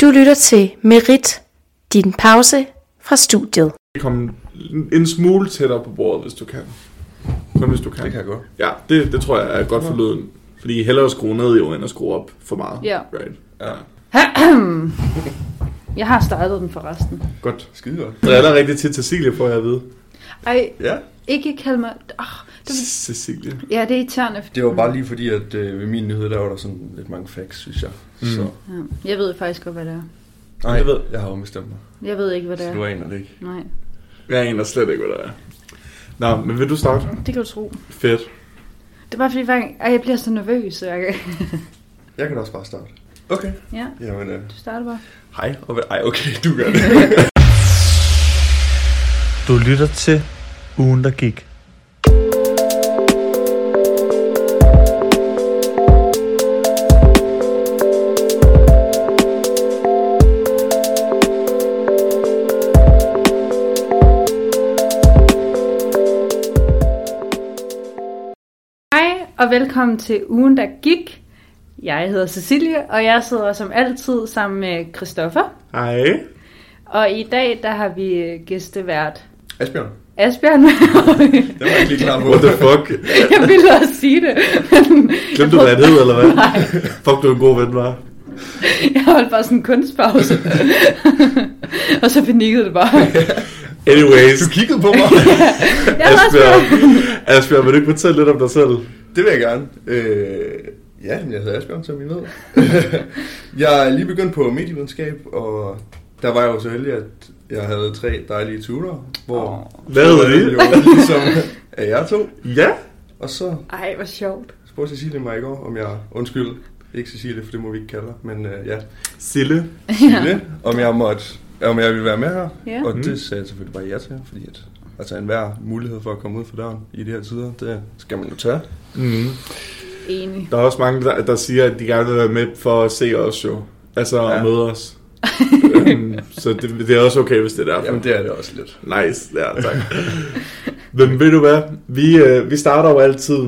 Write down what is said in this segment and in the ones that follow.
Du lytter til Merit, din pause fra studiet. komme en- en smule tættere på bordet, hvis du kan. Kun hvis du kan. Det kan jeg godt. Ja, det, det tror jeg er godt for lyden. Fordi hellere at skrue ned jo, end at skrue op for meget. Ja. Right. Ja. Jeg har startet den forresten. Godt. Skide godt. Driller rigtig tit Cecilie, får jeg at vide. Ej, Ja. ikke kald mig... Oh, det, Cecilie. ja, det er irriterende. Det var bare lige fordi, at øh, ved min nyhed, der var der sådan lidt mange facts, synes jeg. Mm. Så, Ja, jeg ved faktisk godt, hvad det er. nej, Jeg jeg, ved- ved. jeg har ombestemt mig. Jeg ved ikke, hvad det Så er. du aner det ikke. Nej, Jeg aner slet ikke, hvad der er. Nå, men vil du starte? det kan du tro. Fedt. Det er bare fordi, hver gang... Ej, jeg bliver så nervøs. hver gang. Jeg kan også bare starte. Okay. Ja, Jamen, øh, du starter bare. hej. Og, vel- ej, okay, du gør det. Du lytter til ugen, der gik. Hej, og velkommen til ugen, der gik. Jeg hedder Cecilie, og jeg sidder som altid sammen med Christoffer. Hej. Og i dag, der har vi øh, gæstevært Asbjørn, Asbjørn. det var jeg ikke lige klar på. What the fuck? jeg ville også sige det. men jeg Glemte du, hvad prøvede- han hed, eller hvad? Nej, Fuck, du er en god ven, var. jeg holdt bare sådan en kunstpause. og så panikkede det bare. Anyways, Du kiggede på mig. Jeg er også Asbjørn. Asbjørn, vil du ikke fortælle lidt om dig selv? det vil jeg gerne. Øh, ja, men jeg hedder Asbjørn, som I ved. jeg er lige begyndt på medievidenskab, og der var jeg jo så heldig, at jeg havde tre dejlige tutorer, hvor Hvad hedder det det? jo ligesom af jer to. Ja. Og så Ej, hvor sjovt. spurgte Cecilie mig i går, om jeg... Undskyld, ikke Cecilie, for det må vi ikke kalde dig, men øh, ja, Sille. Cecilie, om jeg måtte om jeg ville være med her, Ja. Mhm. og det sagde jeg selvfølgelig bare ja til, fordi at, altså enhver mulighed for at komme ud for døren i de her tider, det skal man jo tage. Mm. Enig. Der er også mange, der, der siger, at de gerne vil være med for at se os jo. Altså ja. Ja. at møde os. øhm, så det, det er også okay, hvis det er derfor. Jamen det er det også lidt. Nice, ja tak. Men ved du hvad, vi, øh, vi starter jo altid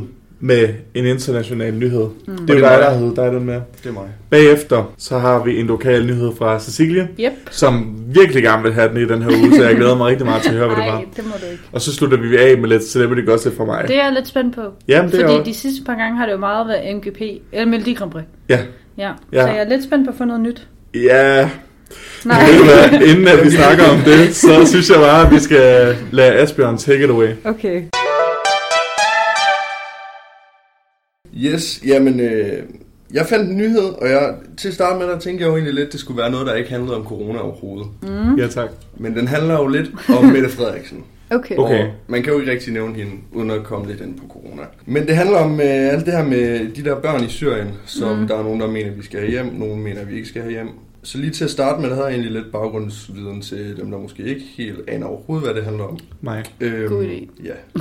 med en international nyhed. Mm. Det er jo dig, der hedder dig den med. Det er mig. Bagefter, så har vi en lokal nyhed fra Cecilie, Yep. som virkelig gerne vil have den i den her uge, så jeg glæder mig rigtig meget til at høre, hvad det Ej, var. det må du ikke. Og så slutter vi af med lidt celebrity gossip fra mig. Det er jeg lidt spændt på. Jamen, det er fordi jo- de sidste par gange har det jo meget været MGP, eller Melodi Grand Prix. Ja. Ja. Ja. ja. Så jeg er lidt spændt på at få noget nyt. Ja, Nej, Ved du hvad, inden at vi snakker om det, så synes jeg bare, at vi skal lade Asbjørn take it away. okay. Yes, jamen øh, jeg fandt en nyhed, og jeg, til at starte med, der tænkte jeg jo egentlig lidt, det skulle være noget, der ikke handlede om corona overhovedet. Mm. Ja, tak. Men den handler jo lidt om Mette Frederiksen. Okay. Okay. okay. Og man kan jo ikke rigtig nævne hende, uden at komme lidt ind på corona. Men det handler om øh, alt det her med de der børn i Syrien, som mm. der er nogen, der mener, vi skal have hjem, nogen mener, vi ikke skal have hjem. Så lige til at starte med, der havde jeg egentlig lidt baggrundsviden til dem, der måske ikke helt aner overhovedet, hvad det handler om. Mig. Øhm, God idé. Ja.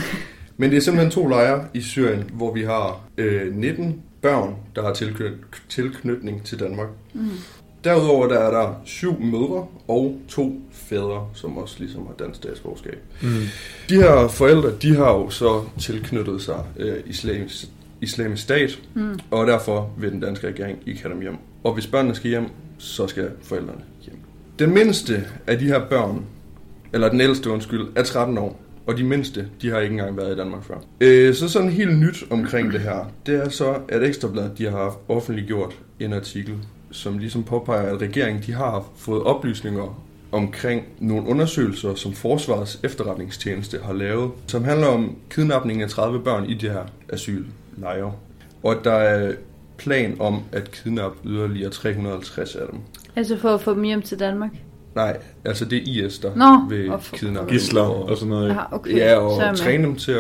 Men det er simpelthen to lejre i Syrien, hvor vi har øh, 19 børn, der har tilknyt- tilknytning til Danmark. Mm. Derudover der er der syv mødre og to fædre, som også ligesom har dansk statsborgerskab. Mm. De her forældre, de har jo så tilknyttet sig øh, islamisk, islamisk stat, mm. og derfor vil den danske regering ikke have dem hjem. Og hvis børnene skal hjem, så skal forældrene hjem. Den mindste af de her børn, eller den ældste, undskyld, er 13 år. Og de mindste, de har ikke engang været i Danmark før. Øh, så sådan helt nyt omkring det her, det er så, at Ekstrabladet, de har offentliggjort en artikel, som ligesom påpeger, at regeringen, de har fået oplysninger omkring nogle undersøgelser, som Forsvarets efterretningstjeneste har lavet, som handler om kidnapning af 30 børn i de her asyllejre. Og at der er plan om at kidnappe yderligere 350 af dem. Altså for at få dem hjem til Danmark. Nej, altså det er IS, der Nå, vil og for- kidnappe dem Gisler og sådan noget. ikke? Ah, okay. Ja, så er og jeg med. træne dem til at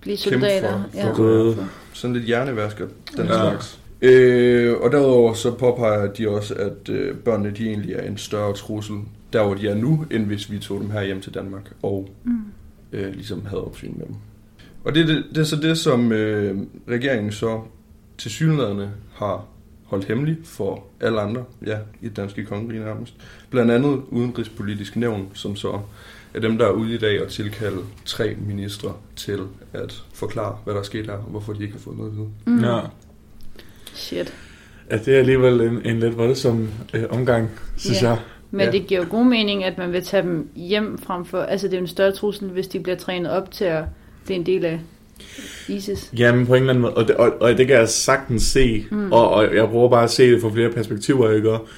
Blive kæmpe soldater. for, ja. for Gud. sådan lidt hjernevasker, den Ja. ja. slags. Øh, og derudover så påpeger de også, at øh, børnene de egentlig er en større trussel, der hvor de er nu, end hvis vi tog dem her hjem til Danmark og mm. øh, ligesom havde opsyn med dem. Og det, er det, det er så det, som øh, regeringen så til synlædende har holdt hemmelig for alle andre, ja, i det danske kongerige nærmest. Blandt andet udenrigspolitisk nævn, som så er dem, der er ude i dag og tilkalde tre ministre til Mm. at forklare, hvad der er sket her, og hvorfor de ikke har fået noget at vide. Ja. Shit. Ja, det er alligevel en, en lidt voldsom øh, omgang, synes Ja. jeg. Men Ja. ja. det giver jo god mening, at man vil tage dem hjem frem for... Altså, det er jo en større trussel, hvis de bliver trænet op til at... Det er en del af ISIS. Jamen på en eller anden måde, og det, og, og det kan jeg sagtens se, mm. og, og jeg prøver bare at se det fra flere perspektiver, ikke? Og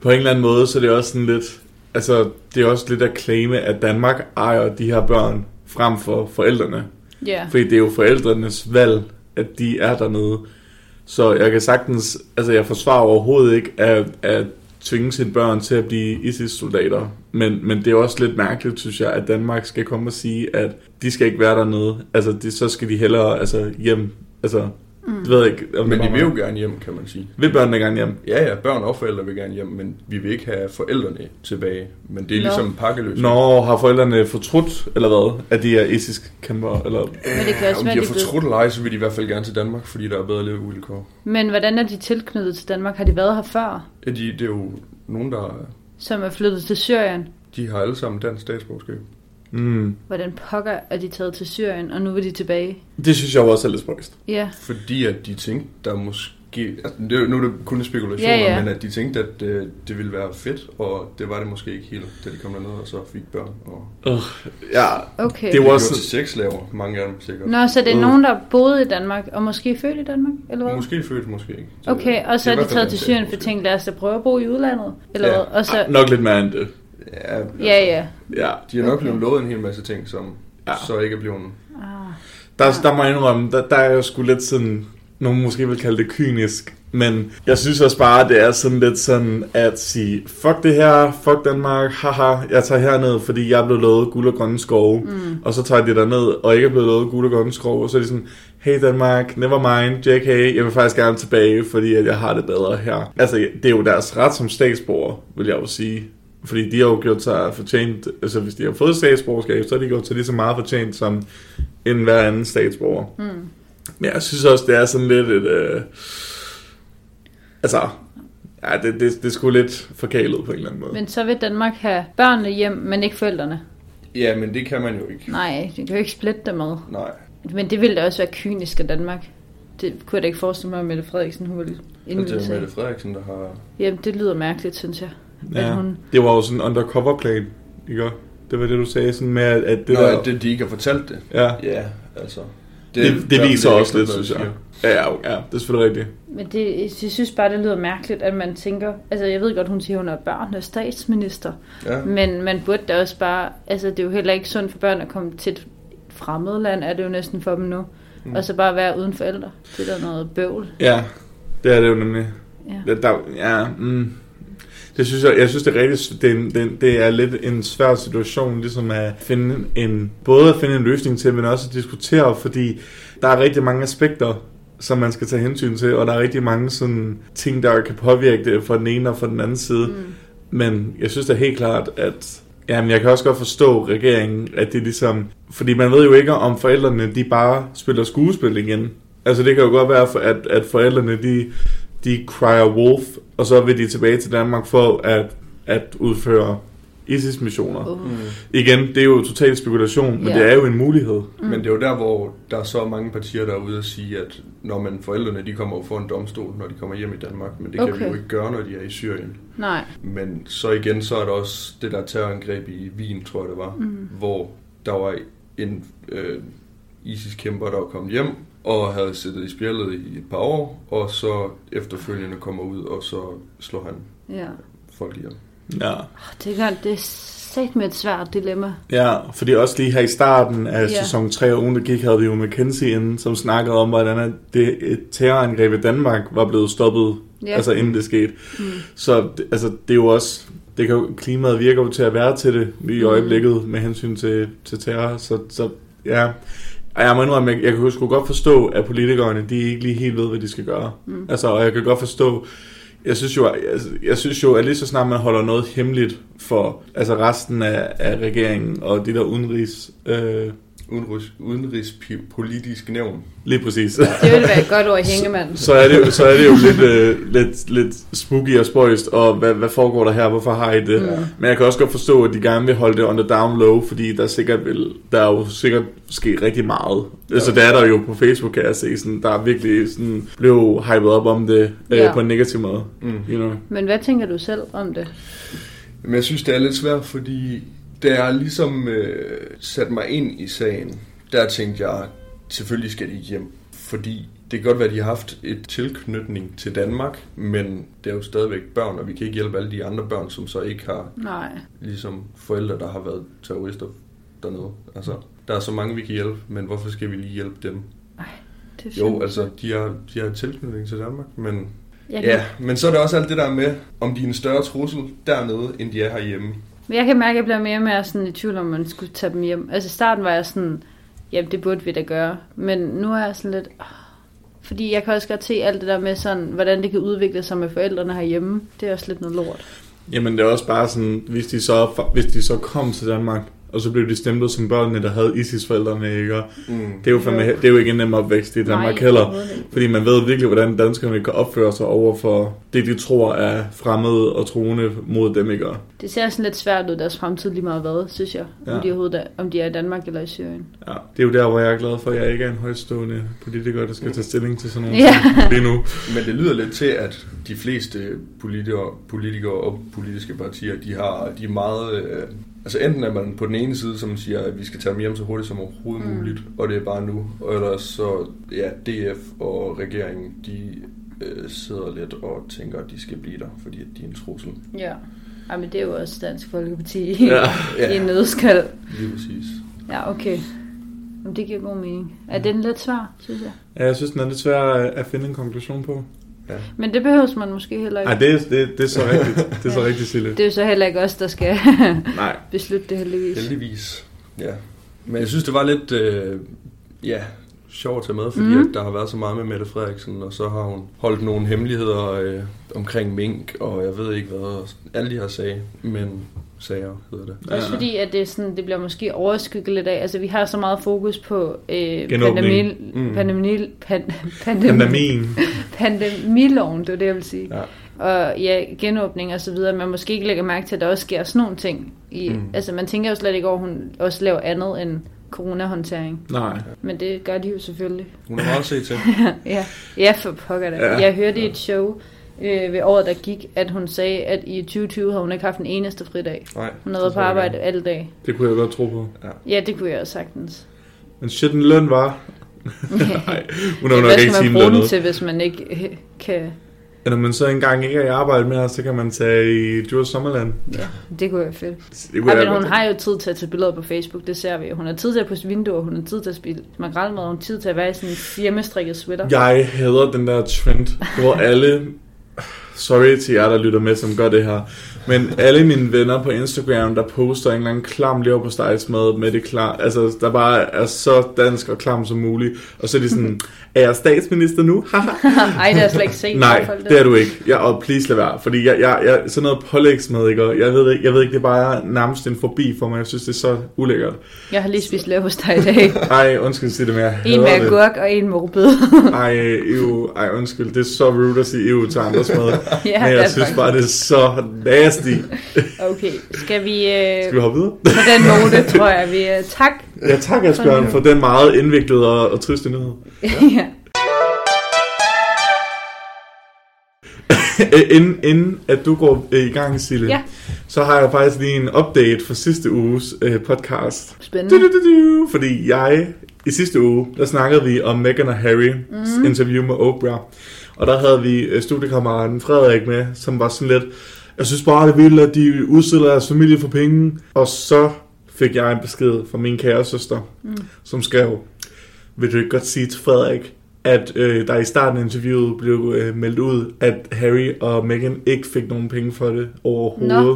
på en eller anden måde, så er det også sådan lidt, altså det er også lidt at claime, at Danmark ejer de her børn frem for forældrene. Ja, Fordi det er jo forældrenes valg, at de er dernede. Så jeg kan sagtens, altså jeg forsvarer overhovedet ikke at, at tvinge sine børn til at blive ISIS-soldater. Men, men det er også lidt mærkeligt, synes jeg, at Danmark skal komme og sige, at de skal ikke være dernede. Altså de, så skal de hellere altså, hjem. Altså, mm. jeg ved ikke, om Men det de vil jo gerne hjem, kan man sige. vil børnene gerne hjem. Ja, ja, børn og forældre vil gerne hjem, men vi vil ikke have forældrene tilbage. Men det er Nå. ligesom en pakkeløsning. Nå, har forældrene fortrudt, eller hvad, at de er ISIS-kæmper? Eller... men det kan Ja, også om være, de de har er blevet... fortrudt eller ej, så vil de i hvert fald gerne til Danmark, fordi der er bedre levevilkår. Men hvordan er de tilknyttet til Danmark? Har de været her før? Ja, de, det er jo nogen, der Som er flyttet til Syrien? de har alle sammen dansk statsborgerskab. Mm. Hvordan pokker er de taget til Syrien, og nu vil de tilbage? Det synes jeg jo også er lidt spøjst. Ja, Fordi at de tænkte, der måske... Altså, det er, jo- nu er det kun spekulationer, Ja, ja, ja. ja. men at de tænkte, at øh, det ville være fedt, og det var det måske ikke helt, da de kom derned og så fik børn. Og Ja, okay. Det det var var også- til sexslaver, mange af dem sikkert. Nå, så det er Øh. nogen, der boede i Danmark, og måske født i Danmark, eller hvad? Måske født, måske ikke. Det- Okay, og det så er i de hvert fald taget til dansk Syrien for statsborgerskab. tænkt, lad os da prøve at bo i udlandet, eller Ja. hvad? Og så, ah, nok lidt mere end det. Ja, altså, ja, ja. Ja. De er nok blevet lovet en hel masse ting, som Ja. ja. så ikke er blevet... Ah. Der, der må jeg indrømme, der, der er jo sgu lidt sådan, nogen måske vil kalde det kynisk, men jeg synes også bare, at det er sådan lidt sådan at sige, fuck det her, fuck Danmark, haha, jeg tager herned, fordi jeg er blevet lovet guld og grønne skove, mm. og så tager de derned, og ikke er blevet lovet guld og grønne skove, og så er de sådan, hey Danmark, never mind, JK, jeg vil faktisk gerne tilbage, fordi at jeg har det bedre her. Altså, det er jo deres ret som statsborger, vil jeg jo sige. Fordi de har jo gjort sig fortjent, altså hvis de har fået statsborgerskab, så har de gjort sig lige så meget fortjent som end hver anden statsborger. Mm. Hmm. Men jeg synes også, det er sådan lidt et... Øh, altså, ja, det, det, det er sgu lidt forkælet på en eller anden måde. Men, Men så vil Danmark have børnene hjem, men ikke forældrene. Ja, men det kan man jo ikke. Nej, det kan jo ikke splitte dem ad. Nej. Men det ville da også være kynisk af Danmark. Det kunne jeg da ikke forestille mig, at Mette Frederiksen hun ville Og Altså, det indvide er jo sig. Mette Frederiksen, der har... Jamen, det lyder mærkeligt, synes jeg. ja, Men hun, Det var jo sådan en undercover-plan, ikke? Det var det, du sagde, sådan med, at, at det Det Nå, der... at det, de ikke har fortalt det. ja. Ja, altså... Det, det der- viser er også ikke lidt, noget, synes der jeg. siger. Ja, ja, ja, det er selvfølgelig rigtigt. men det, jeg synes bare, det lyder mærkeligt, at man tænker... Altså, jeg ved godt, hun siger, hun er børn og statsminister. Ja. Men man burde da også bare... Altså, det er jo heller ikke sundt for børn at komme til et fremmed land, er det jo næsten for dem nu. Mm. Og så bare være uden forældre. Det er da noget bøvl. Ja, det er det jo nemlig. Ja. Ja. Der, ja, mm. Det synes jeg, jeg synes, det er rigtig, det, er en- det, er- det er lidt en svær situation, ligesom at finde en, både at finde en løsning til, men også at diskutere, fordi der er rigtig mange aspekter, som man skal tage hensyn til, og der er rigtig mange sådan ting, der kan påvirke det fra den ene og fra den anden side. Mm. Men jeg synes da helt klart, at jamen, jeg kan også godt forstå regeringen, at det er ligesom... Fordi man ved jo ikke, om forældrene de bare spiller skuespil igen. Altså det kan jo godt være, for- at, at forældrene de, de cryer wolf, og så vil de tilbage til Danmark for at, at udføre ISIS-missioner. Uh. Mm. Igen, det er jo total spekulation, men Ja. det er jo en mulighed. Men Mm. det er jo der, hvor der er så mange partier, der er ude og sige, at når man forældrene, de kommer jo for en domstol, når de kommer hjem i Danmark, men det kan Okay. vi jo ikke gøre, når de er i Syrien. Nej. Men så igen, så er der også det der terrorangreb i Wien, tror jeg det var, mm. hvor der var en øh, ISIS-kæmper, der var kommet hjem og havde siddet i spjældet i et par år, og så efterfølgende kommer ud, og så slår han Ja. folk ihjel. Ja. Det er, godt. det er sat med et svært dilemma. Ja, fordi også lige her i starten af Ja. ja. sæson 3 af ugen, der gik, havde vi jo McKenzie inden, som snakkede om, hvordan at det, et terrorangreb i Danmark var blevet stoppet, Ja. ja. altså inden det skete. Mm. Så det- altså, det er jo også, det kan jo, klimaet virker jo til at være til det lige i øjeblikket med hensyn til, til terror, så, så ja. Og jeg må indrømme, jeg, jeg kan jo sgu godt forstå, at politikerne, de ikke lige helt ved, hvad de skal gøre. Mm. Altså, og jeg kan godt forstå, jeg synes jo, jeg, jeg synes jo, at lige så snart man holder noget hemmeligt for altså resten af, af regeringen og de der udenrigs øh, udenrigs, udenrigspolitisk nævn. Lige præcis. Det ville være et godt ord i hængemanden. Så er det jo, så er det jo lidt, øh, lidt, lidt spooky og spøjst, og hvad, hvad foregår der her, hvorfor har I det? Ja. Men jeg kan også godt forstå, at de gerne vil holde det under down low, fordi der er, sikkert vil, der er jo sikkert ske rigtig meget. Ja. Altså det er der jo på Facebook, kan jeg se, sådan, der er virkelig sådan, blev hypet op om det øh, Ja. ja. på en negativ måde. Mm. You know? Men hvad tænker du selv om det? Men jeg synes, det er lidt svært, fordi da jeg ligesom øh, satte mig ind i sagen, der tænkte jeg, selvfølgelig skal de hjem. Fordi det kan godt være, at de har haft et tilknytning til Danmark, men det er jo stadigvæk børn, og vi kan ikke hjælpe alle de andre børn, som så ikke har Nej. ligesom forældre, der har været terrorister dernede. Altså, der er så mange, vi kan hjælpe, men hvorfor skal vi lige hjælpe dem? Det er Jo, fandme- altså, de har, de har tilknytning til Danmark, men Jeg kan, Ja, men så er der også alt det der med, om de er en større trussel dernede, end de er herhjemme. Men jeg kan mærke, at jeg bliver mere og mere sådan i tvivl om, man skulle tage dem hjem. Altså i starten var jeg sådan, jamen det burde vi da gøre. Men nu er jeg sådan lidt... "Åh." Fordi jeg kan også godt se alt det der med sådan, hvordan det kan udvikle sig med forældrene herhjemme. Det er også lidt noget lort. Jamen det er også bare sådan, hvis de så, hvis de så kom til Danmark, og så blev de stemplet som børnene, der havde ISIS-forældrene, ikke? Og Mm. Det er jo, fandme, det er jo ikke en nem opvækst i Danmark Nej, heller. overhovedet ikke. Fordi man ved virkelig, hvordan danskerne kan opføre sig over for det, de tror er fremmede og troende mod dem, ikke? Det ser sådan lidt svært ud, deres fremtid lige meget hvad, synes jeg. Ja. Ja. Om, de overhovedet er, om de er i Danmark eller i Syrien. Ja, det er jo der, hvor jeg er glad for, at jeg ikke er en højstående politiker, der skal tage stilling til sådan nogle Mm. Ja. ting lige nu. Men det lyder lidt til, at de fleste politikere, politikere og politiske partier, de, har, de er meget... Øh, altså enten er man på den ene side, som siger, at vi skal tage dem hjem så hurtigt som overhovedet mm. muligt, og det er bare nu. Og ellers så, ja, DF og regeringen, de øh, sidder lidt og tænker, at de skal blive der, fordi at de er en trussel. Ja. Ej, men det er jo også Dansk Folkeparti Ja. i en Ja, nødskal. lige præcis. Ja, okay. Jamen, det giver god mening. Er den lidt svær, synes jeg? Ja, jeg synes, den er lidt svær at finde en konklusion på. Men det behøves man måske heller ikke. Ej, det, er- det, det er så rigtigt. Det er så Ja. rigtigt, Sille. Det er jo så heller ikke os, der skal Nej. beslutte det heldigvis. Heldigvis, ja. Men jeg synes, det var lidt øh, ja, sjovt at tage med, fordi mm. Mhm. at der har været så meget med Mette Frederiksen, og så har hun holdt nogle hemmeligheder øh, omkring mink, og jeg ved ikke hvad, og alle de her sager, men sager hedder det. Også fordi, at det, er sådan, det bliver måske overskygget lidt af. Altså, vi har så meget fokus på øh, Genåbning. pandemi, Mm. pandemi, pan, pandemi, Pandamin. pandemiloven, det var det, jeg ville sige. Ja. Og ja, genåbning og så videre. Man måske ikke lægger mærke til, at der også sker sådan nogle ting. I, mm. Altså, man tænker jo slet ikke over, at hun også laver andet end coronahåndtering. Nej. Men det gør de jo selvfølgelig. Hun har også set til. Ja, ja for pokker da. Ja. Ja. Jeg hørte i et show øh, ved året, der gik, at hun sagde, at i 2020 har hun ikke haft en eneste fridag. Nej, Hun havde været på arbejde alle dage. Det kunne jeg godt tro på. Ja, det kunne jeg også sagtens. Men shit, en løn var. Nej, hun er jo nok Hvad ikke skal man bruge den timelønnet. til, hvis man ikke øh, kan... Ja, Når man så engang ikke er i arbejde mere, så kan man tage i Djurs Sommerland. Det kunne være fedt. Det Ej, jeg men hun godt- har jo tid til at tage billeder på Facebook, det ser vi. Hun har tid til at pusse vinduer, hun har tid til at spille makrelmad, hun har tid til at være i sådan en hjemmestrikket sweater. Jeg hader den der trend, hvor alle... Sorry til jer, der lytter med, som gør det her. Men alle mine venner på Instagram, der poster en eller anden klam lever på med, med det klar, altså, der bare er så dansk og klam som muligt. Og så er de sådan, er jeg statsminister nu? Haha. Ej, det har jeg slet ikke set. Nej, Folk, der- det er du ikke. Jeg, og please lad være, fordi jeg, jeg, jeg, sådan noget pålægsmad, ikke? Og jeg ved, ikke- jeg ved ikke, det er bare nærmest en forbi for mig. Jeg synes, det er så ulækkert. Jeg har lige spist leverpostej i dag. Ej, undskyld, sig det, men jeg hader En med det. agurk og en med rødbed. Ej, ew, ej, undskyld, det er så rude at sige ew til andres mad. ja, Men det er jeg synes faktisk- bare, det er så nasty. Okay, skal vi... Øh... Skal vi hoppe videre? På den note, tror jeg, vi... øh, Tak. Ja, tak Asbjørn for den meget indviklede og, og triste nyhed. ja. Æ, Inden, inden at du går øh, i gang, Sille, Ja. så har jeg faktisk lige en update fra sidste uges øh, podcast. Du, du, Spændende. du, du, fordi jeg, i sidste uge, der snakkede vi om Meghan og Harry Mhm. mm. interview med Oprah. Og der havde vi øh, studiekammeraten Frederik med, som var sådan lidt, jeg synes bare, det er vildt, at de udstiller deres familie for penge. Og så fik jeg en besked fra min kære søster, mm. som skrev, vil du ikke godt sige til Frederik, at øh, der i starten af interviewet blev øh, meldt ud, at Harry og Meghan ikke fik nogen penge for det overhovedet. Nå.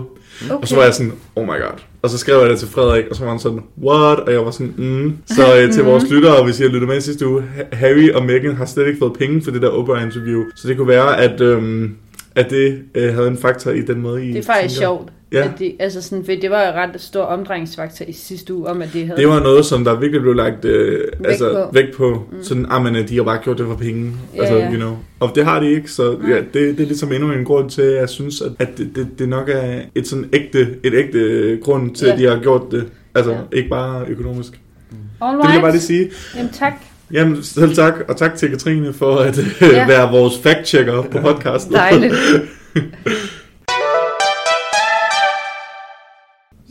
Okay. Og så var jeg sådan, oh my god. Og så skrev jeg det til Frederik, og så var han sådan, what? Og jeg var sådan, mm. Så øh, til vores lyttere, hvis I har lyttet med i sidste uge, Ha- Harry og Meghan har slet ikke fået penge for det der Oprah-interview. Så det kunne være, at, øhm, at det øh, havde en faktor i den måde, I Det er faktisk tænker. sjovt. Ja. At de, altså sådan, for det var jo ret stor omdrejningsfaktor i sidste uge, om at det havde... Det var noget, som der virkelig blev lagt øh, væk altså, på. på. væk på. Mm. Sådan, ah, men, øh, de har bare gjort det for penge. Ja, altså, ja. you know. Og det har de ikke, så ja, det, det er ligesom endnu en grund til, at jeg synes, at, at det, det, det, nok er et sådan ægte, et ægte øh, grund til, Ja. ja. at de har gjort det. Altså, Ja. ja. ikke bare økonomisk. Right. All Det vil jeg bare lige sige. Jamen tak. Jamen, selv tak, og tak til Katrine for at øh, Ja. ja. være vores fact-checker på podcasten. Dejligt.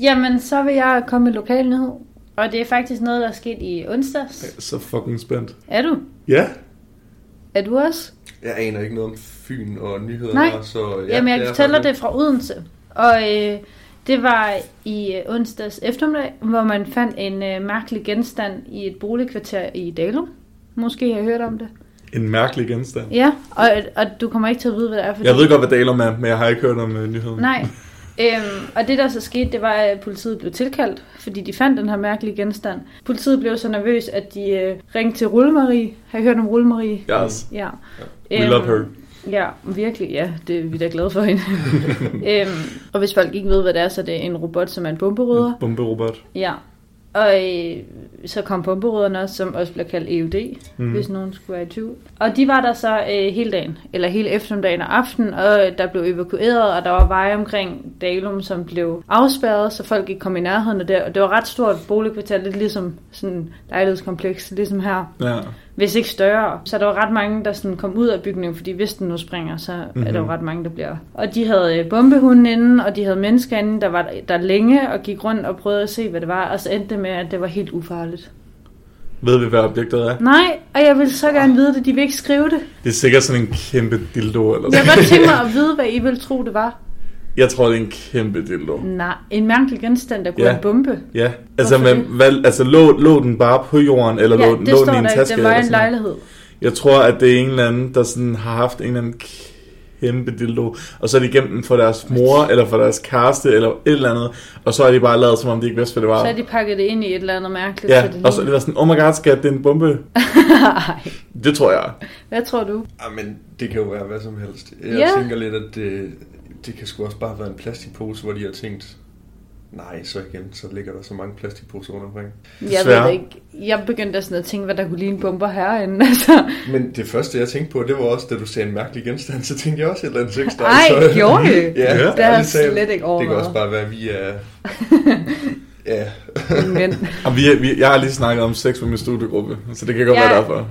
Jamen, så vil jeg komme med lokal nyhed. Og det er faktisk noget, der er sket i onsdags. så fucking spændt. Er du? Ja, Er du også? Jeg aner ikke noget om Fyn og nyheder. Nej. der, så ja, det Jamen, jeg kan er fortælle dig faktisk- det fra Odense. Og øh, det var i øh, onsdags eftermiddag, hvor man fandt en øh, mærkelig genstand i et boligkvarter i Dalum. Måske har I hørt om det. en mærkelig genstand. Ja, og, og du kommer ikke til at vide, hvad det er. Fordi... Jeg ved godt, hvad Dalum er, men jeg har ikke hørt om uh, nyheden. Nej. Øhm, og det der så skete, det var, at politiet blev tilkaldt, fordi de fandt den her mærkelige genstand. Politiet blev så nervøs, at de øh, ringte til Rullemarie. Har I hørt om Rullemarie? Yes, Ja. Øhm, we love her. Ja, virkelig, ja. Det er vi da glade for hende. øhm, og hvis folk ikke ved, hvad det er, så er det en robot, som er en bomberydder. Bomberobot. Ja. Og øh, så kom bomberødderne også, som også bliver kaldt EUD, mm. hvis nogen skulle være i tvivl. Og de var der så øh, hele dagen, eller hele eftermiddagen og aften, og øh, der blev evakueret, og der var veje omkring Dalum, som blev afspærret, så folk ikke kom i nærheden af det. Og det var et ret stort boligkvarter, lidt ligesom sådan et lejlighedskompleks, ligesom her Ja. hvis ikke større. Så der var ret mange, der sådan kom ud af bygningen, fordi hvis den nu springer, så mm-hmm. er Mhm. der jo ret mange, der bliver. Og de havde øh, bombehunden inden, og de havde mennesker inden, der var der længe og gik rundt og prøvede at se, hvad det var. Og så endte det med, at det var helt ufarligt. Ved vi, hvad objektet er? Nej, og jeg ville så gerne vide det. De vil ikke skrive det. Det er sikkert sådan en kæmpe dildo. Eller Jeg sådan. kunne godt tænke mig at vide, hvad I ville tro, det var. Jeg tror, det er en kæmpe dildo. Nej, en mærkelig genstand, der kunne Ja. yeah. en bombe. Ja, altså, Hvorfor men, hvad, altså lå, lå den bare på jorden, eller Ja, lå, det lå står den i en der ikke. taske? Det var eller en sådan noget? lejlighed. Jeg tror, at det er en eller anden, der sådan har haft en eller anden kæmpe dildo, og så er de gemt den for deres mor, eller for deres kæreste, eller et eller andet, og så er de bare lavet, som om de ikke vidste, hvad det var. Så har de pakket det ind i et eller andet mærkeligt. Ja, så det og så er det ligner- var sådan, oh my god, skat, det er en bombe. det tror jeg. Hvad tror du? Ah, men det kan jo være hvad som helst. Jeg Ja. tænker lidt, at det, det kan sgu også bare være en plastikpose, hvor de har tænkt, nej, så igen, så ligger der så mange plastikposer rundt omkring. Jeg ved Desværre. det ikke. Jeg begyndte sådan at tænke, hvad der kunne ligne bomber herinde. Altså. Men det første, jeg tænkte på, det var også, da du sagde en mærkelig genstand, så tænkte jeg også et eller andet sex. Ej, gjorde I? ja, Det har jeg ærligt talt. slet ikke Det kan overvejet. også bare være, at vi er... ja, Men Og vi, vi, jeg har lige snakket om sex med min studiegruppe, så det kan godt Ja. ja. være derfor.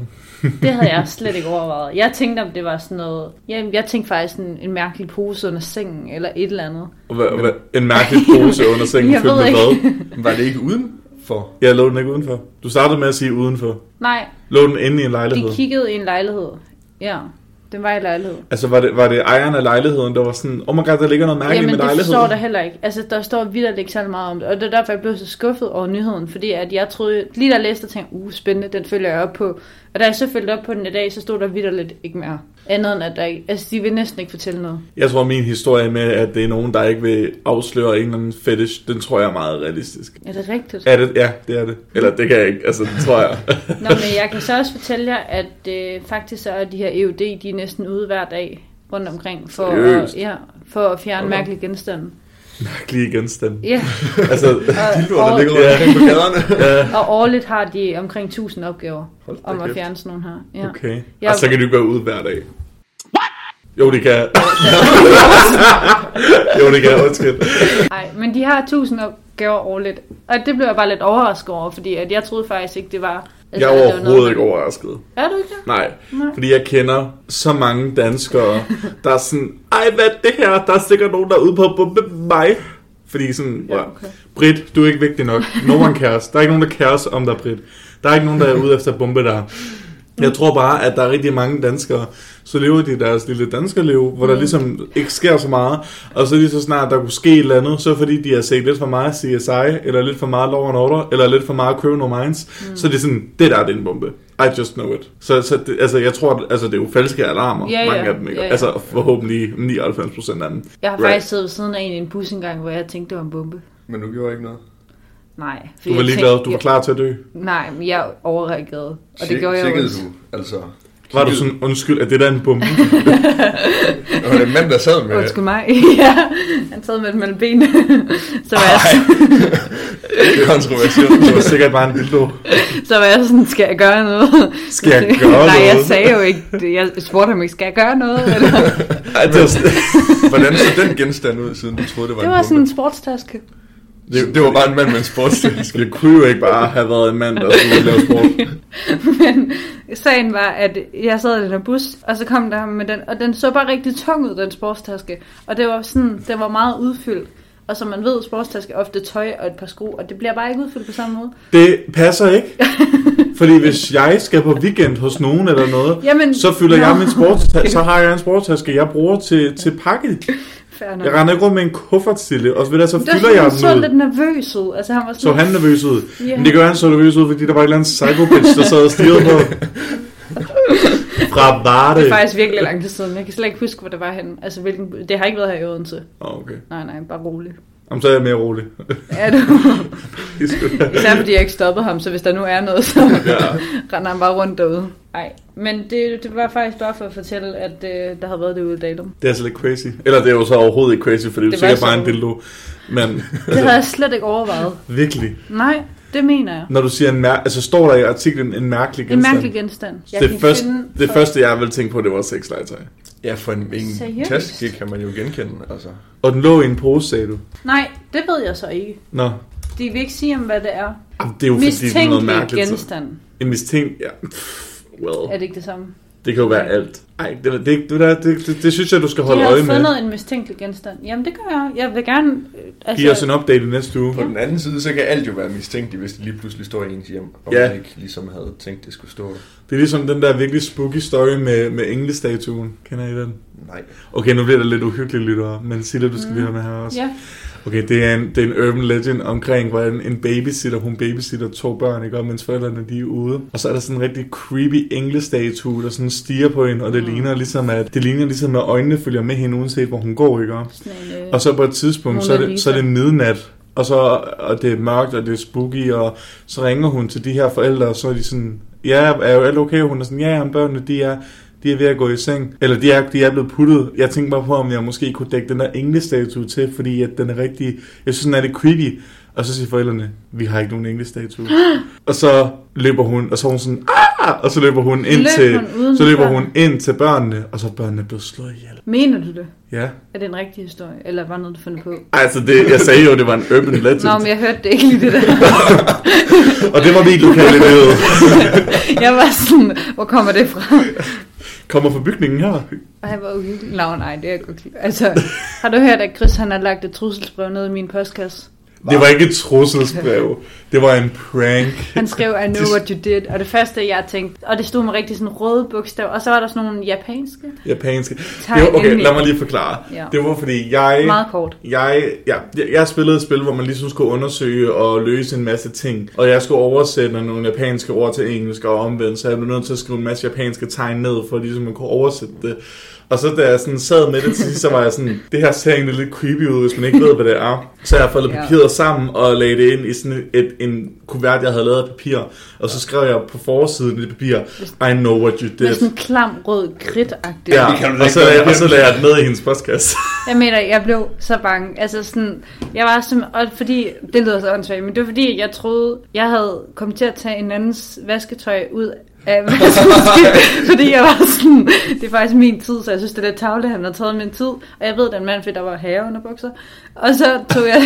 det havde jeg slet ikke overvejet. Jeg tænkte, om det var sådan noget... Jeg, jeg tænkte faktisk en, en mærkelig pose under sengen, eller et eller andet. Og hvad- hvad- En mærkelig pose under sengen Jeg fyldt ved med ikke. hvad? var det ikke udenfor? Jeg lå den ikke udenfor. Du startede med at sige udenfor. Nej, Lå den inde i en de lejlighed? kiggede i en lejlighed. Ja, den var i en lejlighed. Altså var det, var det ejeren af lejligheden, der var sådan, oh my god, der ligger noget mærkeligt Jamen, med det lejligheden? forstår der heller ikke. Altså, der står vildt ikke særlig meget om det. Og det er derfor, jeg blev så skuffet over nyheden. Fordi at jeg troede, lige da jeg læste, og tænkte, uh, spændende, den følger jeg op på. Og da jeg så følte op på den i dag, så stod der vildt ikke mere. Andet end, at der ikke... Altså, de vil næsten ikke fortælle noget. Jeg tror, min historie med, at det er nogen, der ikke vil afsløre en eller anden fetish, den tror jeg er meget realistisk. Er det rigtigt? Er det? Ja, det er det. Eller det kan jeg ikke, altså det tror jeg. Nå, men jeg kan så også fortælle jer, at øh, faktisk så er de her EUD, de er næsten ude hver dag rundt omkring for, at, Seriøst? ja, for at fjerne okay. mærkelige genstande. Lige genstand. Ja, Altså, Dildoer, der og, ligger rundt omkring på gaderne. og årligt har de omkring 1000 opgaver Hold da om at kæft. fjerne sådan nogle her. Ja. okay. Altså, Ja. Og så kan du gå ud hver dag. Jo, det kan jeg. jo, det kan jeg. Undskyld. Nej, men de har 1000 opgaver årligt, og det blev jeg bare lidt overrasket over, fordi at jeg troede faktisk ikke, det var... Altså, Jeg at er det var overhovedet ikke overrasket. Er du ikke det? Nej, Nej. fordi jeg kender så mange danskere, der er sådan, ej, hvad er det her? Der er sikkert nogen, der er ude på at bombe mig. Fordi sådan, Ja, ja, okay. okay. Britt, du er ikke vigtig nok. No one cares. Der er ikke nogen, der cares om dig, Britt. Der er ikke nogen, der er ude efter at bombe dig. Jeg tror bare, at der er rigtig mange danskere, så lever de deres lille danskerliv, hvor Mm. der ligesom ikke sker så meget. Og så lige så snart der kunne ske et eller andet, så fordi de har set lidt for meget CSI, eller lidt for meget Law and Order, eller lidt for meget Criminal Minds, mm. så er det sådan, det der det er en bombe. I just know it. Så, så det, altså, jeg tror, at, altså, det er jo falske alarmer, Ja, ja. mange af dem. Ikke? Ja, ja. Altså forhåbentlig 99% af dem. Jeg har Right. faktisk siddet ved siden af en i en bus engang, hvor jeg tænkte, det var en bombe. Men du gjorde ikke noget. Nej. fordi Du var jeg ligeglad, tænkte- du var klar til at dø. Nej, men jeg overreagerede, og det Tjek- gjorde jeg tjekkede også. du, altså. Var du sådan, undskyld, er det der en bombe? Og det er en mand, der sad med... Undskyld mig. ja, han sad med den mellem benene. så, var jeg, Ej, det er kontroversielt. Det var sikkert bare en dildo. så var jeg sådan, skal jeg gøre noget? Skal jeg gøre noget? Nej, jeg sagde jo ikke det. Jeg spurgte ham ikke, skal jeg gøre noget? Eller? Ej, det var, Hvordan så den genstand ud, siden du troede, det var Det en var bombe? sådan en sportstaske. Det, det var bare en mand med en sportstaske. det kunne jo ikke bare have været en mand, der skulle lave sport. Men sagen var, at jeg sad i den her bus, og så kom der ham med den, og den så bare rigtig tung ud, den sportstaske. Og det var sådan, den var meget udfyldt. Og som man ved, sportstaske er ofte tøj og et par sko, og det bliver bare ikke udfyldt på samme måde. Det passer ikke. Fordi hvis jeg skal på weekend hos nogen eller noget, Jamen, så fylder nå. jeg min sportstaske, så har jeg en sportstaske, jeg bruger til, til pakke. Fair nok. Jeg render ikke rundt med en kuffert stille, og så, ved jeg, så Det var fylder sådan, jeg han så den ud. lidt nervøs ud. Altså, han var Så sådan, han nervøs ud. Ja. Men det gør han så nervøs ud, fordi der var et eller andet psycho bitch, der sad og stirrede på ham. Fra Varde. det er faktisk virkelig lang tid siden. Jeg kan slet ikke huske, hvor det var henne. Altså, hvilken, det har ikke været her i Odense. Åh, okay. Nej, nej, bare rolig. Jamen, så er jeg mere rolig. Ja, du... Især fordi jeg ikke stoppede ham, så hvis der nu er noget, så render han bare rundt derude. Nej, men det, det var faktisk bare for at fortælle, at øh, der havde været det ude i Dalum. Det er altså lidt crazy. Eller det er jo så overhovedet ikke crazy, for det er Det jo var sikkert bare en sådan. dildo. Men altså, Det havde jeg slet ikke overvejet. virkelig, Nej, det mener jeg. når du siger en mær- altså står der i artiklen en mærkelig En genstand. mærkelig genstand. Jeg det, kan første, finde det for- første, jeg ville tænke på, det var sexlegetøj. Ja, for en, en Seriøst? taske kan man jo genkende, altså. Og den lå i en pose, sagde du. Nej, det ved jeg så ikke. Nå, De vil ikke sige, om hvad det er. Jamen, det er jo fordi, det er noget Mistænkelig mærkeligt. så- genstand. En mistænkt, ja. Pff, Er Well, det ikke det samme? det kan jo være alt. Ej, det, det, det, det, det, det, det synes jeg, du skal De holde øje har med. fundet en mistænkelig genstand. Jamen, det gør jeg. Jeg vil gerne... øh, Altså, Giv os en update i næste uge. På den anden side, så kan alt jo være mistænkeligt, hvis det lige pludselig står i ens hjem, og Ja. man ikke ligesom havde tænkt, det skulle stå. Det er ligesom den der virkelig spooky story med, med englestatuen. Kender I den? Nej. Okay, nu bliver det lidt uhyggeligt, lyttere, men Silla, du skal mm. lige høre med her også. Ja, Okay, det er, en, det er en urban legend omkring, hvordan en babysitter, hun babysitter to børn, ikke? Og mens forældrene de er ude. Og så er der sådan en rigtig creepy englestatue, der sådan stiger på hende, og det ligner ligesom, at, det ligner ligesom, at øjnene følger med hende, uanset hvor hun går, ikke? sådan en... Øh... Og så på et tidspunkt, så er, Mona det, Lisa. så er det midnat, og, så, og det er mørkt, og det er spooky, og så ringer hun til de her forældre, og så er de sådan, ja, er jo alt okay? Og hun er sådan, ja, ja, men børnene, de er, de er ved at gå i seng, eller de er, de er blevet puttet. Jeg tænkte bare på, om jeg måske kunne dække den der englestatue til, fordi at den er rigtig, jeg synes, den er lidt creepy. Og så siger forældrene, vi har ikke nogen englestatue. og så løber hun, og så er hun sådan, ah! Og så løber hun ind Løb til, hun uden så løber hun børnene? ind til børnene, og så er børnene blevet slået ihjel. Mener du det? Ja. Er det en rigtig historie? Eller var noget, du fandt på? Altså, det, jeg sagde jo, det var en urban legend. Nå, men jeg hørte det ikke lige det der. Og det var mit lokale nyhed. Jeg var sådan, hvor kommer det fra? Kommer fra bygningen her. Og han var uhyggeligt. Nå, nej, det er jeg godt lide. Altså, har du hørt, at Chris han har lagt et trusselsbrev ned i min postkasse? Det var ikke et trusselsbrev. Det var en prank. Han skrev, I know what you did. Og det første, jeg tænkte, og det stod med rigtig sådan røde bogstaver. Og så var der sådan nogle japanske. Japanske. Tak, Det var, okay, endelig. lad mig lige forklare. Ja. Det var fordi, jeg... Meget kort. Jeg, ja, jeg, jeg spillede et spil, hvor man ligesom skulle undersøge og løse en masse ting. Og jeg skulle oversætte nogle japanske ord til engelsk og omvendt, så jeg blev nødt til at skrive en masse japanske tegn ned, for ligesom at kunne oversætte det. Og så da jeg sådan sad med det til sidst, så var jeg sådan, det her ser egentlig lidt creepy ud, hvis man ikke ved, hvad det er. Så jeg foldede Ja. papiret sammen og lagde det ind i sådan et, en kuvert, jeg havde lavet af papir. Og så skrev jeg på forsiden i det papir, I know what you Med did. sådan en klam rød kridtagtig. Ja, Det kan du da og ikke så, gøre lagde- og igen. så lagde jeg det ned i hendes postkasse. Jeg mener, jeg blev så bange. Altså sådan, jeg var som, og fordi, det lyder så åndssvagt, men det var fordi, jeg troede, jeg havde kommet til at tage en andens vasketøj ud af vaskemaskinen, fordi jeg var sådan, det er faktisk min tid, så jeg synes, det er lidt tavle, han har taget min tid, og jeg ved, den mand, fordi der var have under bukser, og så tog jeg,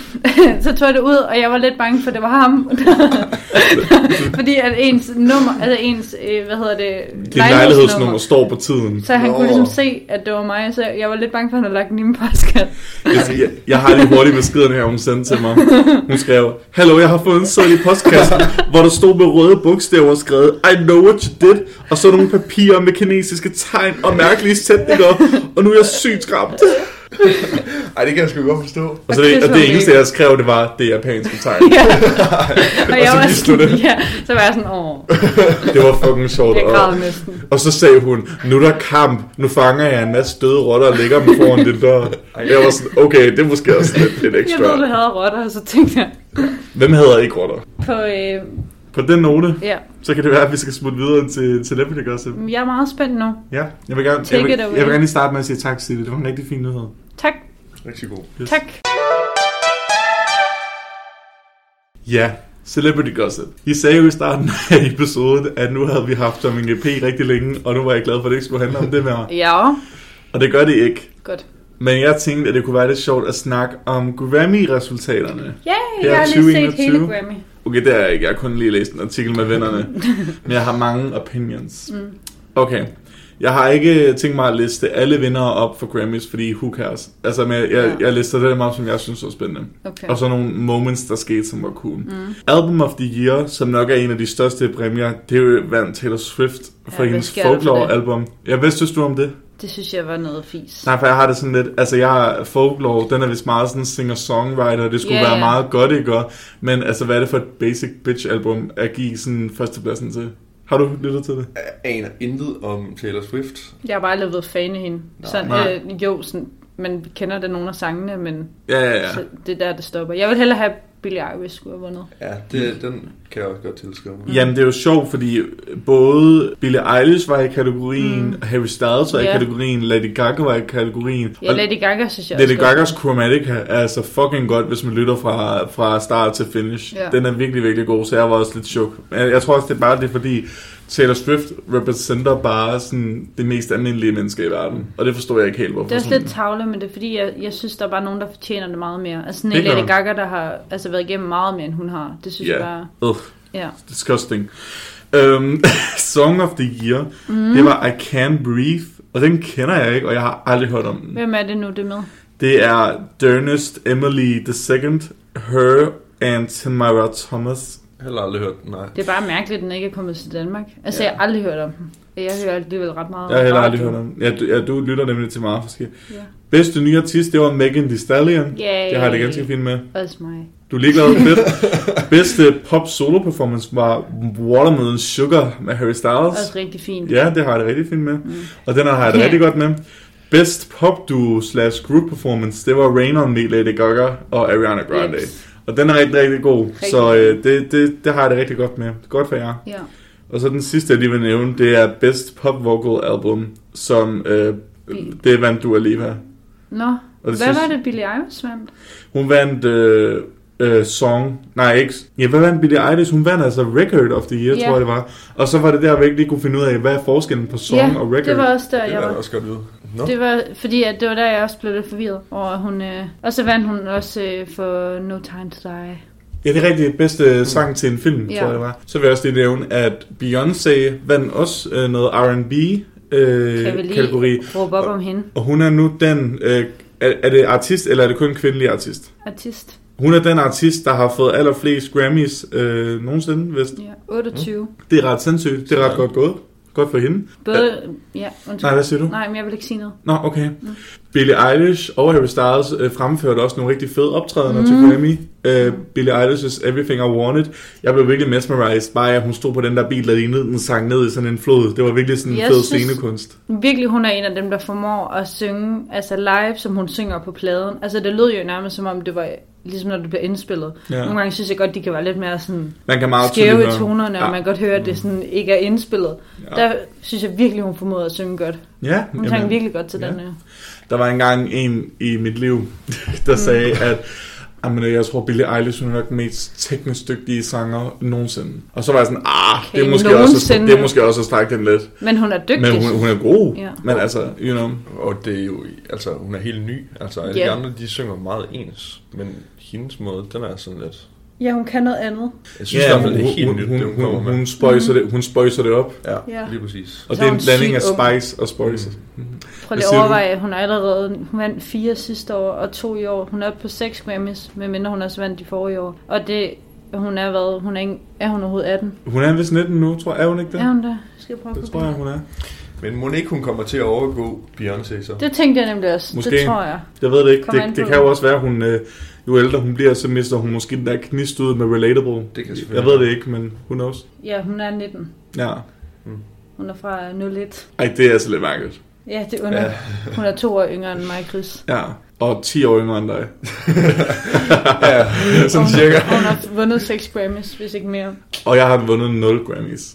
så tog jeg det ud, og jeg var lidt bange, for det var ham, fordi at ens nummer, altså ens, øh, hvad hedder det, Din lejlighedsnummer står på tiden. så han Nå. kunne ligesom se, at det var mig, så jeg var lidt bange for, at han havde lagt den i min postkasse. Altså, Altså, Jeg, jeg, jeg har lige hurtigt beskeden her, hun sendte til mig. Hun skrev, Hallo, jeg har fået en seddel i postkassen, hvor der stod med røde bogstaver skrevet, I know what you did, og så nogle papirer med kinesiske tegn og mærkelige sætninger, og nu er jeg sygt ramt. Ej, det kan jeg sgu godt forstå. Og, så Altså, det, og det eneste, jeg skrev, det var det japanske tegn. Ja. og jeg så var vidste du sådan, det. ja, så var jeg sådan, åh, Det var fucking sjovt. jeg Og, græd næsten. og så sagde hun, nu er der kamp, nu fanger jeg en masse døde rotter og lægger dem foran den dør. Jeg var sådan, okay, det er måske også lidt, lidt Jeg ved, du ekstra. havde rotter, og så tænkte jeg Hvem hedder ikke rotter? på, øh, På den note, ja, Så kan det være, at vi skal smutte videre til, til Celebrity Gossip. Jeg er meget spændt nu. Ja, jeg vil, gerne, Take jeg, vil, it away. jeg vil gerne lige starte med at sige tak, Sille. Det var en rigtig fin nyhed. Tak, Rigtig god. Yes. tak. Ja, Celebrity Gossip. I sagde jo i starten af episoden, at nu havde vi haft Tommy P rigtig længe, og nu var jeg glad for, at det ikke skulle handle om det mere. Ja, Og det gør det ikke. godt. Men jeg tænkte, at det kunne være lidt sjovt at snakke om Grammy-resultaterne. Ja, Det er jeg har lige set 2021. hele Grammy. Okay, det er jeg ikke. Jeg har kun lige læst en artikel med vennerne. Men jeg har mange opinions. Mm. Okay. Jeg har ikke øh, tænkt mig at liste alle vindere op for Grammys, fordi who cares? Altså, men jeg, jeg, Ja. jeg lister det meget, som jeg synes var spændende. Okay. Og så nogle moments, der skete, som var cool. Mm. Album of the Year, som nok er en af de største præmier, det er jo vandt Taylor Swift for Ja, ja, hvad hendes sker der for det? folklore-album. Ja, hvad synes du om det? Det synes jeg var noget fis. Nej, for jeg har det sådan lidt, altså jeg er folklore, den er vist meget sådan singer-songwriter, det skulle Ja, yeah, være ja. meget godt, ikke? Og- Men altså, hvad er det for et basic bitch-album at give sådan førstepladsen til? Har du lyttet til det? Jeg aner intet om Taylor Swift. Jeg har bare aldrig været fan af hende. Nå. Sådan, Nej. øh, jo, sådan, man kender da nogle af sangene, men Ja, ja, ja. ja. så det er der, det stopper. Jeg vil hellere have Billie Eilish skulle have vundet. Ja, det, den kan jeg også godt tilskrive Mm. mig. Jamen, det er jo sjovt, fordi både Billie Eilish var i kategorien, mm. Harry Styles var i Ja. kategorien, Lady Gaga var i kategorien. Ja, Lady Gaga synes jeg Lady også godt. Gagas Chromatica er altså fucking godt, hvis man lytter fra, fra start til finish. Ja. Den er virkelig, virkelig god, så jeg var også lidt chok. Jeg, jeg tror også, det er bare det, er fordi Taylor Swift repræsenterer bare sådan det mest almindelige menneske i verden. Og det forstår jeg ikke helt, hvorfor. Det er også sådan- lidt tavle, men det er fordi, jeg, jeg synes, der er bare nogen, der fortjener det meget mere. Altså sådan Det en gør Lady hun. Gaga, der har altså, været igennem meget mere, end hun har. Det synes Ja. jeg bare... Ugh, Ja. disgusting. Um, Song of the Year, mm. det var I Can't Breathe, og den kender jeg ikke, og jeg har aldrig hørt om den. Hvem er det nu, det er med? Det er Dernest Emily II, Her and Tamara Thomas. Jeg har aldrig hørt den, nej. Det er bare mærkeligt, at den ikke er kommet til Danmark. Altså, Ja. ja. jeg har aldrig hørt om den. Jeg hører alligevel ret meget Jeg har heller radio. aldrig hørt om ja, du, ja, du lytter nemlig til meget forskelligt. Ja. Bedste nye artist, det var Megan Thee Stallion. Yay. Det har jeg det ganske fint med. Også mig. Du er ligeglad med fedt. Bedste pop solo performance var Watermelon Sugar med Harry Også Styles. rigtig fint. Ja, det har jeg det rigtig fint med. Og den her har jeg det Ja. rigtig godt med. Best pop duo slash group performance, det var Rain On Me, Lady Gaga og Ariana Grande. Yes. Og den er rigtig, rigtig god, Rigtig så god. øh, det, det, det har jeg det rigtig godt med. Godt for jer. Ja. Og så den sidste, jeg lige vil nævne, det er Best Pop Vocal Album, som øh, det vandt Dua Lipa. Nå, Og det hvad sidste- var det, Billie Eilish vandt? Hun vandt øh, øh, Song, nej ikke, ja, hvad vandt Billie Eilish? Hun vandt altså Record of the Year, Ja. tror jeg det var. Og så var det der, vi ikke lige kunne finde ud af, hvad er forskellen på Song ja, og Record? det var også der, Det jeg vil jeg var. også godt vide. Nå, Det var fordi, at det var der, jeg også blev lidt forvirret over, at hun... Øh... Og så vandt hun også øh, for No Time To Die. Ja, det er rigtig bedste sang til en film, Ja. tror jeg det var. Så vil jeg også lige nævne, at Beyoncé vandt også øh, noget R&B Kan vi øh, lige kategori. råbe op om hende? Og hun er nu den, øh, er, er det artist, eller er det kun kvindelig artist? Artist. Hun er den artist, der har fået allerflest Grammys øh, nogensinde, hvis Ja, 28. Mm. det er ret sindssygt. Det er ret godt gået. Godt for hende. Både... Ja, undskyld. Nej, hvad siger du? Nej, Mm. men jeg vil ikke sige noget. Nå, okay. Billie Eilish og Harry Styles øh, fremførte også nogle rigtig fede optrædener mm. til Grammy. Øh, Billie Eilish's Everything I Wanted. Jeg blev virkelig mesmerized bare, af, at hun stod på den der bil, der lignede den sang ned i sådan en flod. Det var virkelig sådan en Jeg fed synes- scenekunst. Virkelig, hun er en af dem, der formår at synge, altså live, som hun synger på pladen. Altså, det lød jo nærmest, som om det var ligesom når det bliver indspillet. Ja. Ja. Nogle gange synes jeg godt, de kan være lidt mere sådan Man kan meget skæve tydeligt i høre- tonerne, Ja. Mm. og man kan godt høre, at det sådan ikke er indspillet. Ja. Ja. Der synes jeg virkelig, hun formåede at synge godt. Ja, Hun sang jamen. virkelig godt til ja. ja. den her. Der var engang en i mit liv, der Mm. sagde, at jamen, øh, jeg tror, Billie Eilish hun er nok den mest teknisk dygtige sanger nogensinde. Og så var jeg sådan, ah, okay, det, er Okay, måske også, nogensinde. det er måske også at strække den lidt. Men hun er dygtig. Men hun, hun er god. Ja. Men altså, you know. og det er jo, altså hun er helt ny. Altså alle Ja. de andre, de synger meget ens. Men hendes måde, den er sådan lidt... Ja, hun kan noget andet. Jeg synes yeah, i hvert fald, det er helt nyt, hun, det hun kommer hun, med. hun, spøjser det, hun spøjser det op. Ja, Mm. Ja. lige præcis. Og det Så er er en hun blanding af sygt ung. spice og spøjser. Mm. Prøv Hvad lige siger at du? overveje, at hun er allerede hun vandt fire sidste år og to i år. Hun er oppe på seks Grammys, medmindre hun også vandt de forrige år. Og det, hun er hvad? Hun er, ikke, er hun overhovedet 18? Hun er vist 19 nu, tror jeg. Er hun ikke Ja. det? Er hun der? Skal jeg prøve Det at tror jeg, google? hun er. Men må ikke hun kommer til at overgå Beyoncé så? Det tænkte jeg nemlig også. Måske. Det tror jeg. Jeg ved det ikke. Kom an Det, på det kan det. jo også være, at hun, øh, jo ældre hun bliver, så mister hun måske den der knist ud med relatable. Det kan selvfølgelig jeg ved det ikke, men who knows. Ja, hun er 19. Ja. Hun er fra 01. Ej, det er altså lidt mærkeligt. Ja, det er under. Ja. Hun er to år yngre end mig, Chris. Ja. og 10 år yngre end dig. Ja, sådan cirka. Og hun har vundet 6 Grammys, hvis ikke mere. Og jeg har vundet 0 Grammys.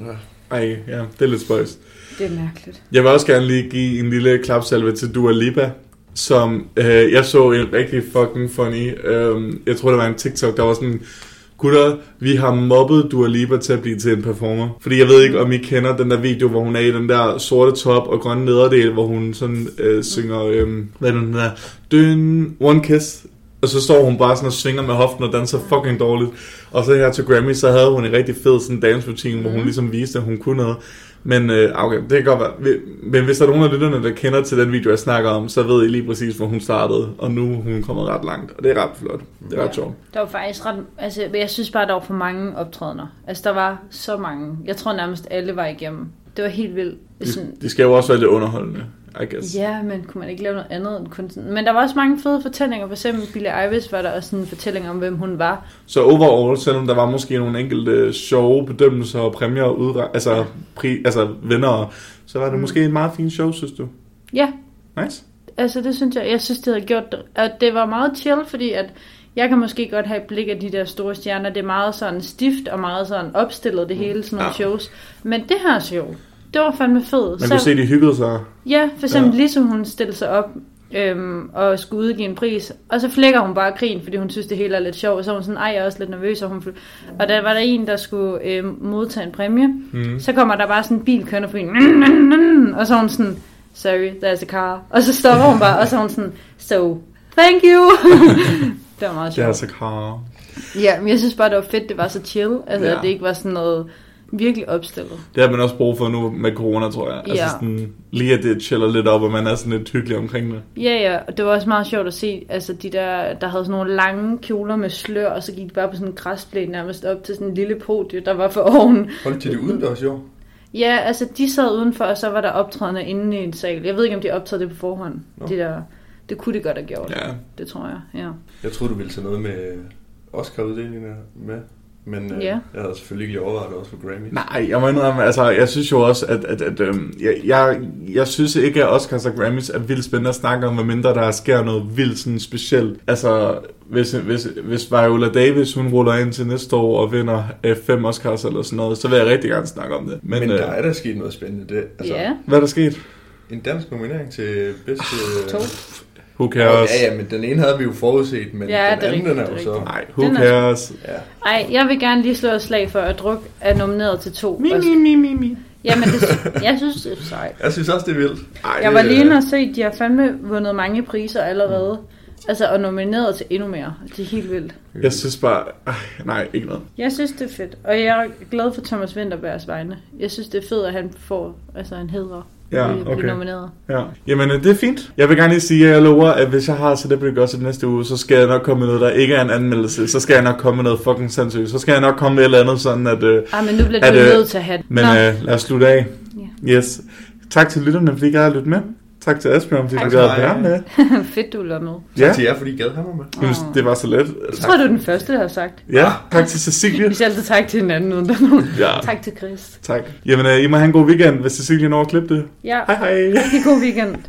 Ja. Ej, ja, det er lidt spøjst. Det er mærkeligt. Jeg vil også gerne lige give en lille klapsalve til Dua Lipa, som øh, jeg så en rigtig fucking funny. Øh, jeg tror, der var en TikTok, der var sådan, gutter, vi har mobbet Dua Lipa til at blive til en performer. Fordi jeg ved ikke, om I kender den der video, hvor hun er i den der sorte top og grønne nederdel, hvor hun sådan øh, synger, øh, hvad er det, den der, døn, one kiss. Og så står hun bare sådan og svinger med hoften og danser fucking dårligt. Og så her til Grammy, så havde hun en rigtig fed sådan dansroutine, hvor hun ligesom viste, at hun kunne noget. Men øh, okay, det kan godt være. Vi- Men hvis der er nogen af lytterne, der kender til den video, jeg snakker om, så ved I lige præcis, hvor hun startede. Og nu er hun kommet ret langt. Og det er ret flot. Det er ret Ja. sjovt. Der var faktisk ret... Altså, men jeg synes bare, der var for mange optrædener. Altså, der var så mange. Jeg tror nærmest alle var igennem. Det var helt vildt. Sådan, De, de skal jo også være lidt underholdende, I guess. Ja, men kunne man ikke lave noget andet end kun sådan... Men der var også mange fede fortællinger. For eksempel Billie Eilish var der også sådan en fortælling om, hvem hun var. Så overall, selvom der var måske nogle enkelte sjove bedømmelser og præmier, og udre- altså, pri- altså vinder, så var det mm. måske et meget fint show, synes du? Ja, Nice. altså det synes jeg, jeg synes, det havde gjort det. At det var meget chill, fordi at jeg kan måske godt have et blik af de der store stjerner. Det er meget sådan stift og meget sådan opstillet det hele, sådan nogle Mm. Ja. shows. Men det her show, det var fandme fedt. Man kunne se, de hyggede sig. Ja, for eksempel Ja. ja. ligesom hun stillede sig op øhm, og skulle udgive en pris, og så flækker hun bare grin, fordi hun synes, det hele er lidt sjovt, og så er hun sådan, ej, jeg er også lidt nervøs, og, hun fl- og der var der en, der skulle øhm, modtage en præmie, Mm. så kommer der bare sådan en bil kørende forbi, "Mm, mm, mm," og så er hun sådan, sorry, there's a car, og så stopper hun bare, og så er hun sådan, so, thank you. det var meget Det er altså sjovt. så kar. Ja, men jeg synes bare, det var fedt, det var så chill, altså Ja. ja. at det ikke var sådan noget virkelig opstillet. Det har man også brug for nu med corona, tror jeg. Altså Ja. sådan, lige at det chiller lidt op, og man er sådan lidt hyggelig omkring det. Ja, ja, og det var også meget sjovt at se, altså de der, der havde sådan nogle lange kjoler med slør, og så gik de bare på sådan en græsplæne nærmest op til sådan en lille podie, der var for oven. Holdt de det udendørs i år? Ja, altså de sad udenfor, og så var der optrædende inde i en sal. Jeg ved ikke, om de optrædede det på forhånd. Nå. De der, det kunne de godt have gjort, Ja. det tror jeg, ja. Jeg troede, du ville tage noget med øh, Oscar-uddelingen med. Men øh, Ja. jeg havde selvfølgelig ikke lige overvejet det også for Grammy. Nej, jeg må indrømme, altså jeg synes jo også, at, at, at øhm, jeg, jeg, jeg synes ikke, at Oscars og Grammys er vildt spændende at snakke om, medmindre der sker noget vildt sådan specielt. Altså, hvis, hvis, hvis Viola Davis, hun ruller ind til næste år og vinder øh, fem Oscars eller sådan noget, så vil jeg rigtig gerne snakke om det. Men, Men, Men øh, der er da sket noget spændende. Det, Altså, altså, ja, hvad er der sket? En dansk nominering til bedste... to. Who Ja, cares? ja, men den ene havde vi jo forudset, men Ja, den det er anden den er jo rigtigt, det så... Nej, who Den er- cares? Ja. Ej, jeg vil gerne lige slå et slag for, at druk er nomineret til to. Mi, mi, Oscar. mi, mi, mi. Jamen, det, jeg synes, det er sejt. Jeg synes også, det er vildt. Ej, Jeg var det- lige inde og se, at de har fandme vundet mange priser allerede. Altså, og nomineret til endnu mere. Det er helt vildt. Jeg synes bare, ej, nej, ikke noget. Jeg synes, det er fedt. Og jeg er glad for Thomas Vinterbergs vegne. Jeg synes, det er fedt, at han får altså, en hedder. Ja, at blive okay. nomineret. Ja. Jamen, øh, det er fint. Jeg vil gerne lige sige, at jeg lover, at hvis jeg har Celebrity Gossip næste uge, så skal jeg nok komme med noget, der ikke er en anmeldelse. Så skal jeg nok komme med noget fucking sindssygt. Så skal jeg nok komme med et eller andet sådan, at... Øh, Ej, Ah, men nu bliver Er du det- nødt til at have den. men Nå, øh, lad os slutte af. Ja. Yes. Tak til lytterne, fordi I gad at lytte med. Tak til Asbjørn, fordi Tak du til gad at mig. være med. fedt, du lød med. Ja, Til jer, fordi I gad have mig med. øh, synes, det var så let. Jeg tror, du er den første, der har sagt. Ja, tak til Cecilie. Vi skal altid tak til hinanden, uden der er nogen. Ja, Tak til Chris. tak. Jamen, øh, I må have en god weekend, hvis Cecilie når at klippe det. Ja, Hej hej. rigtig god weekend.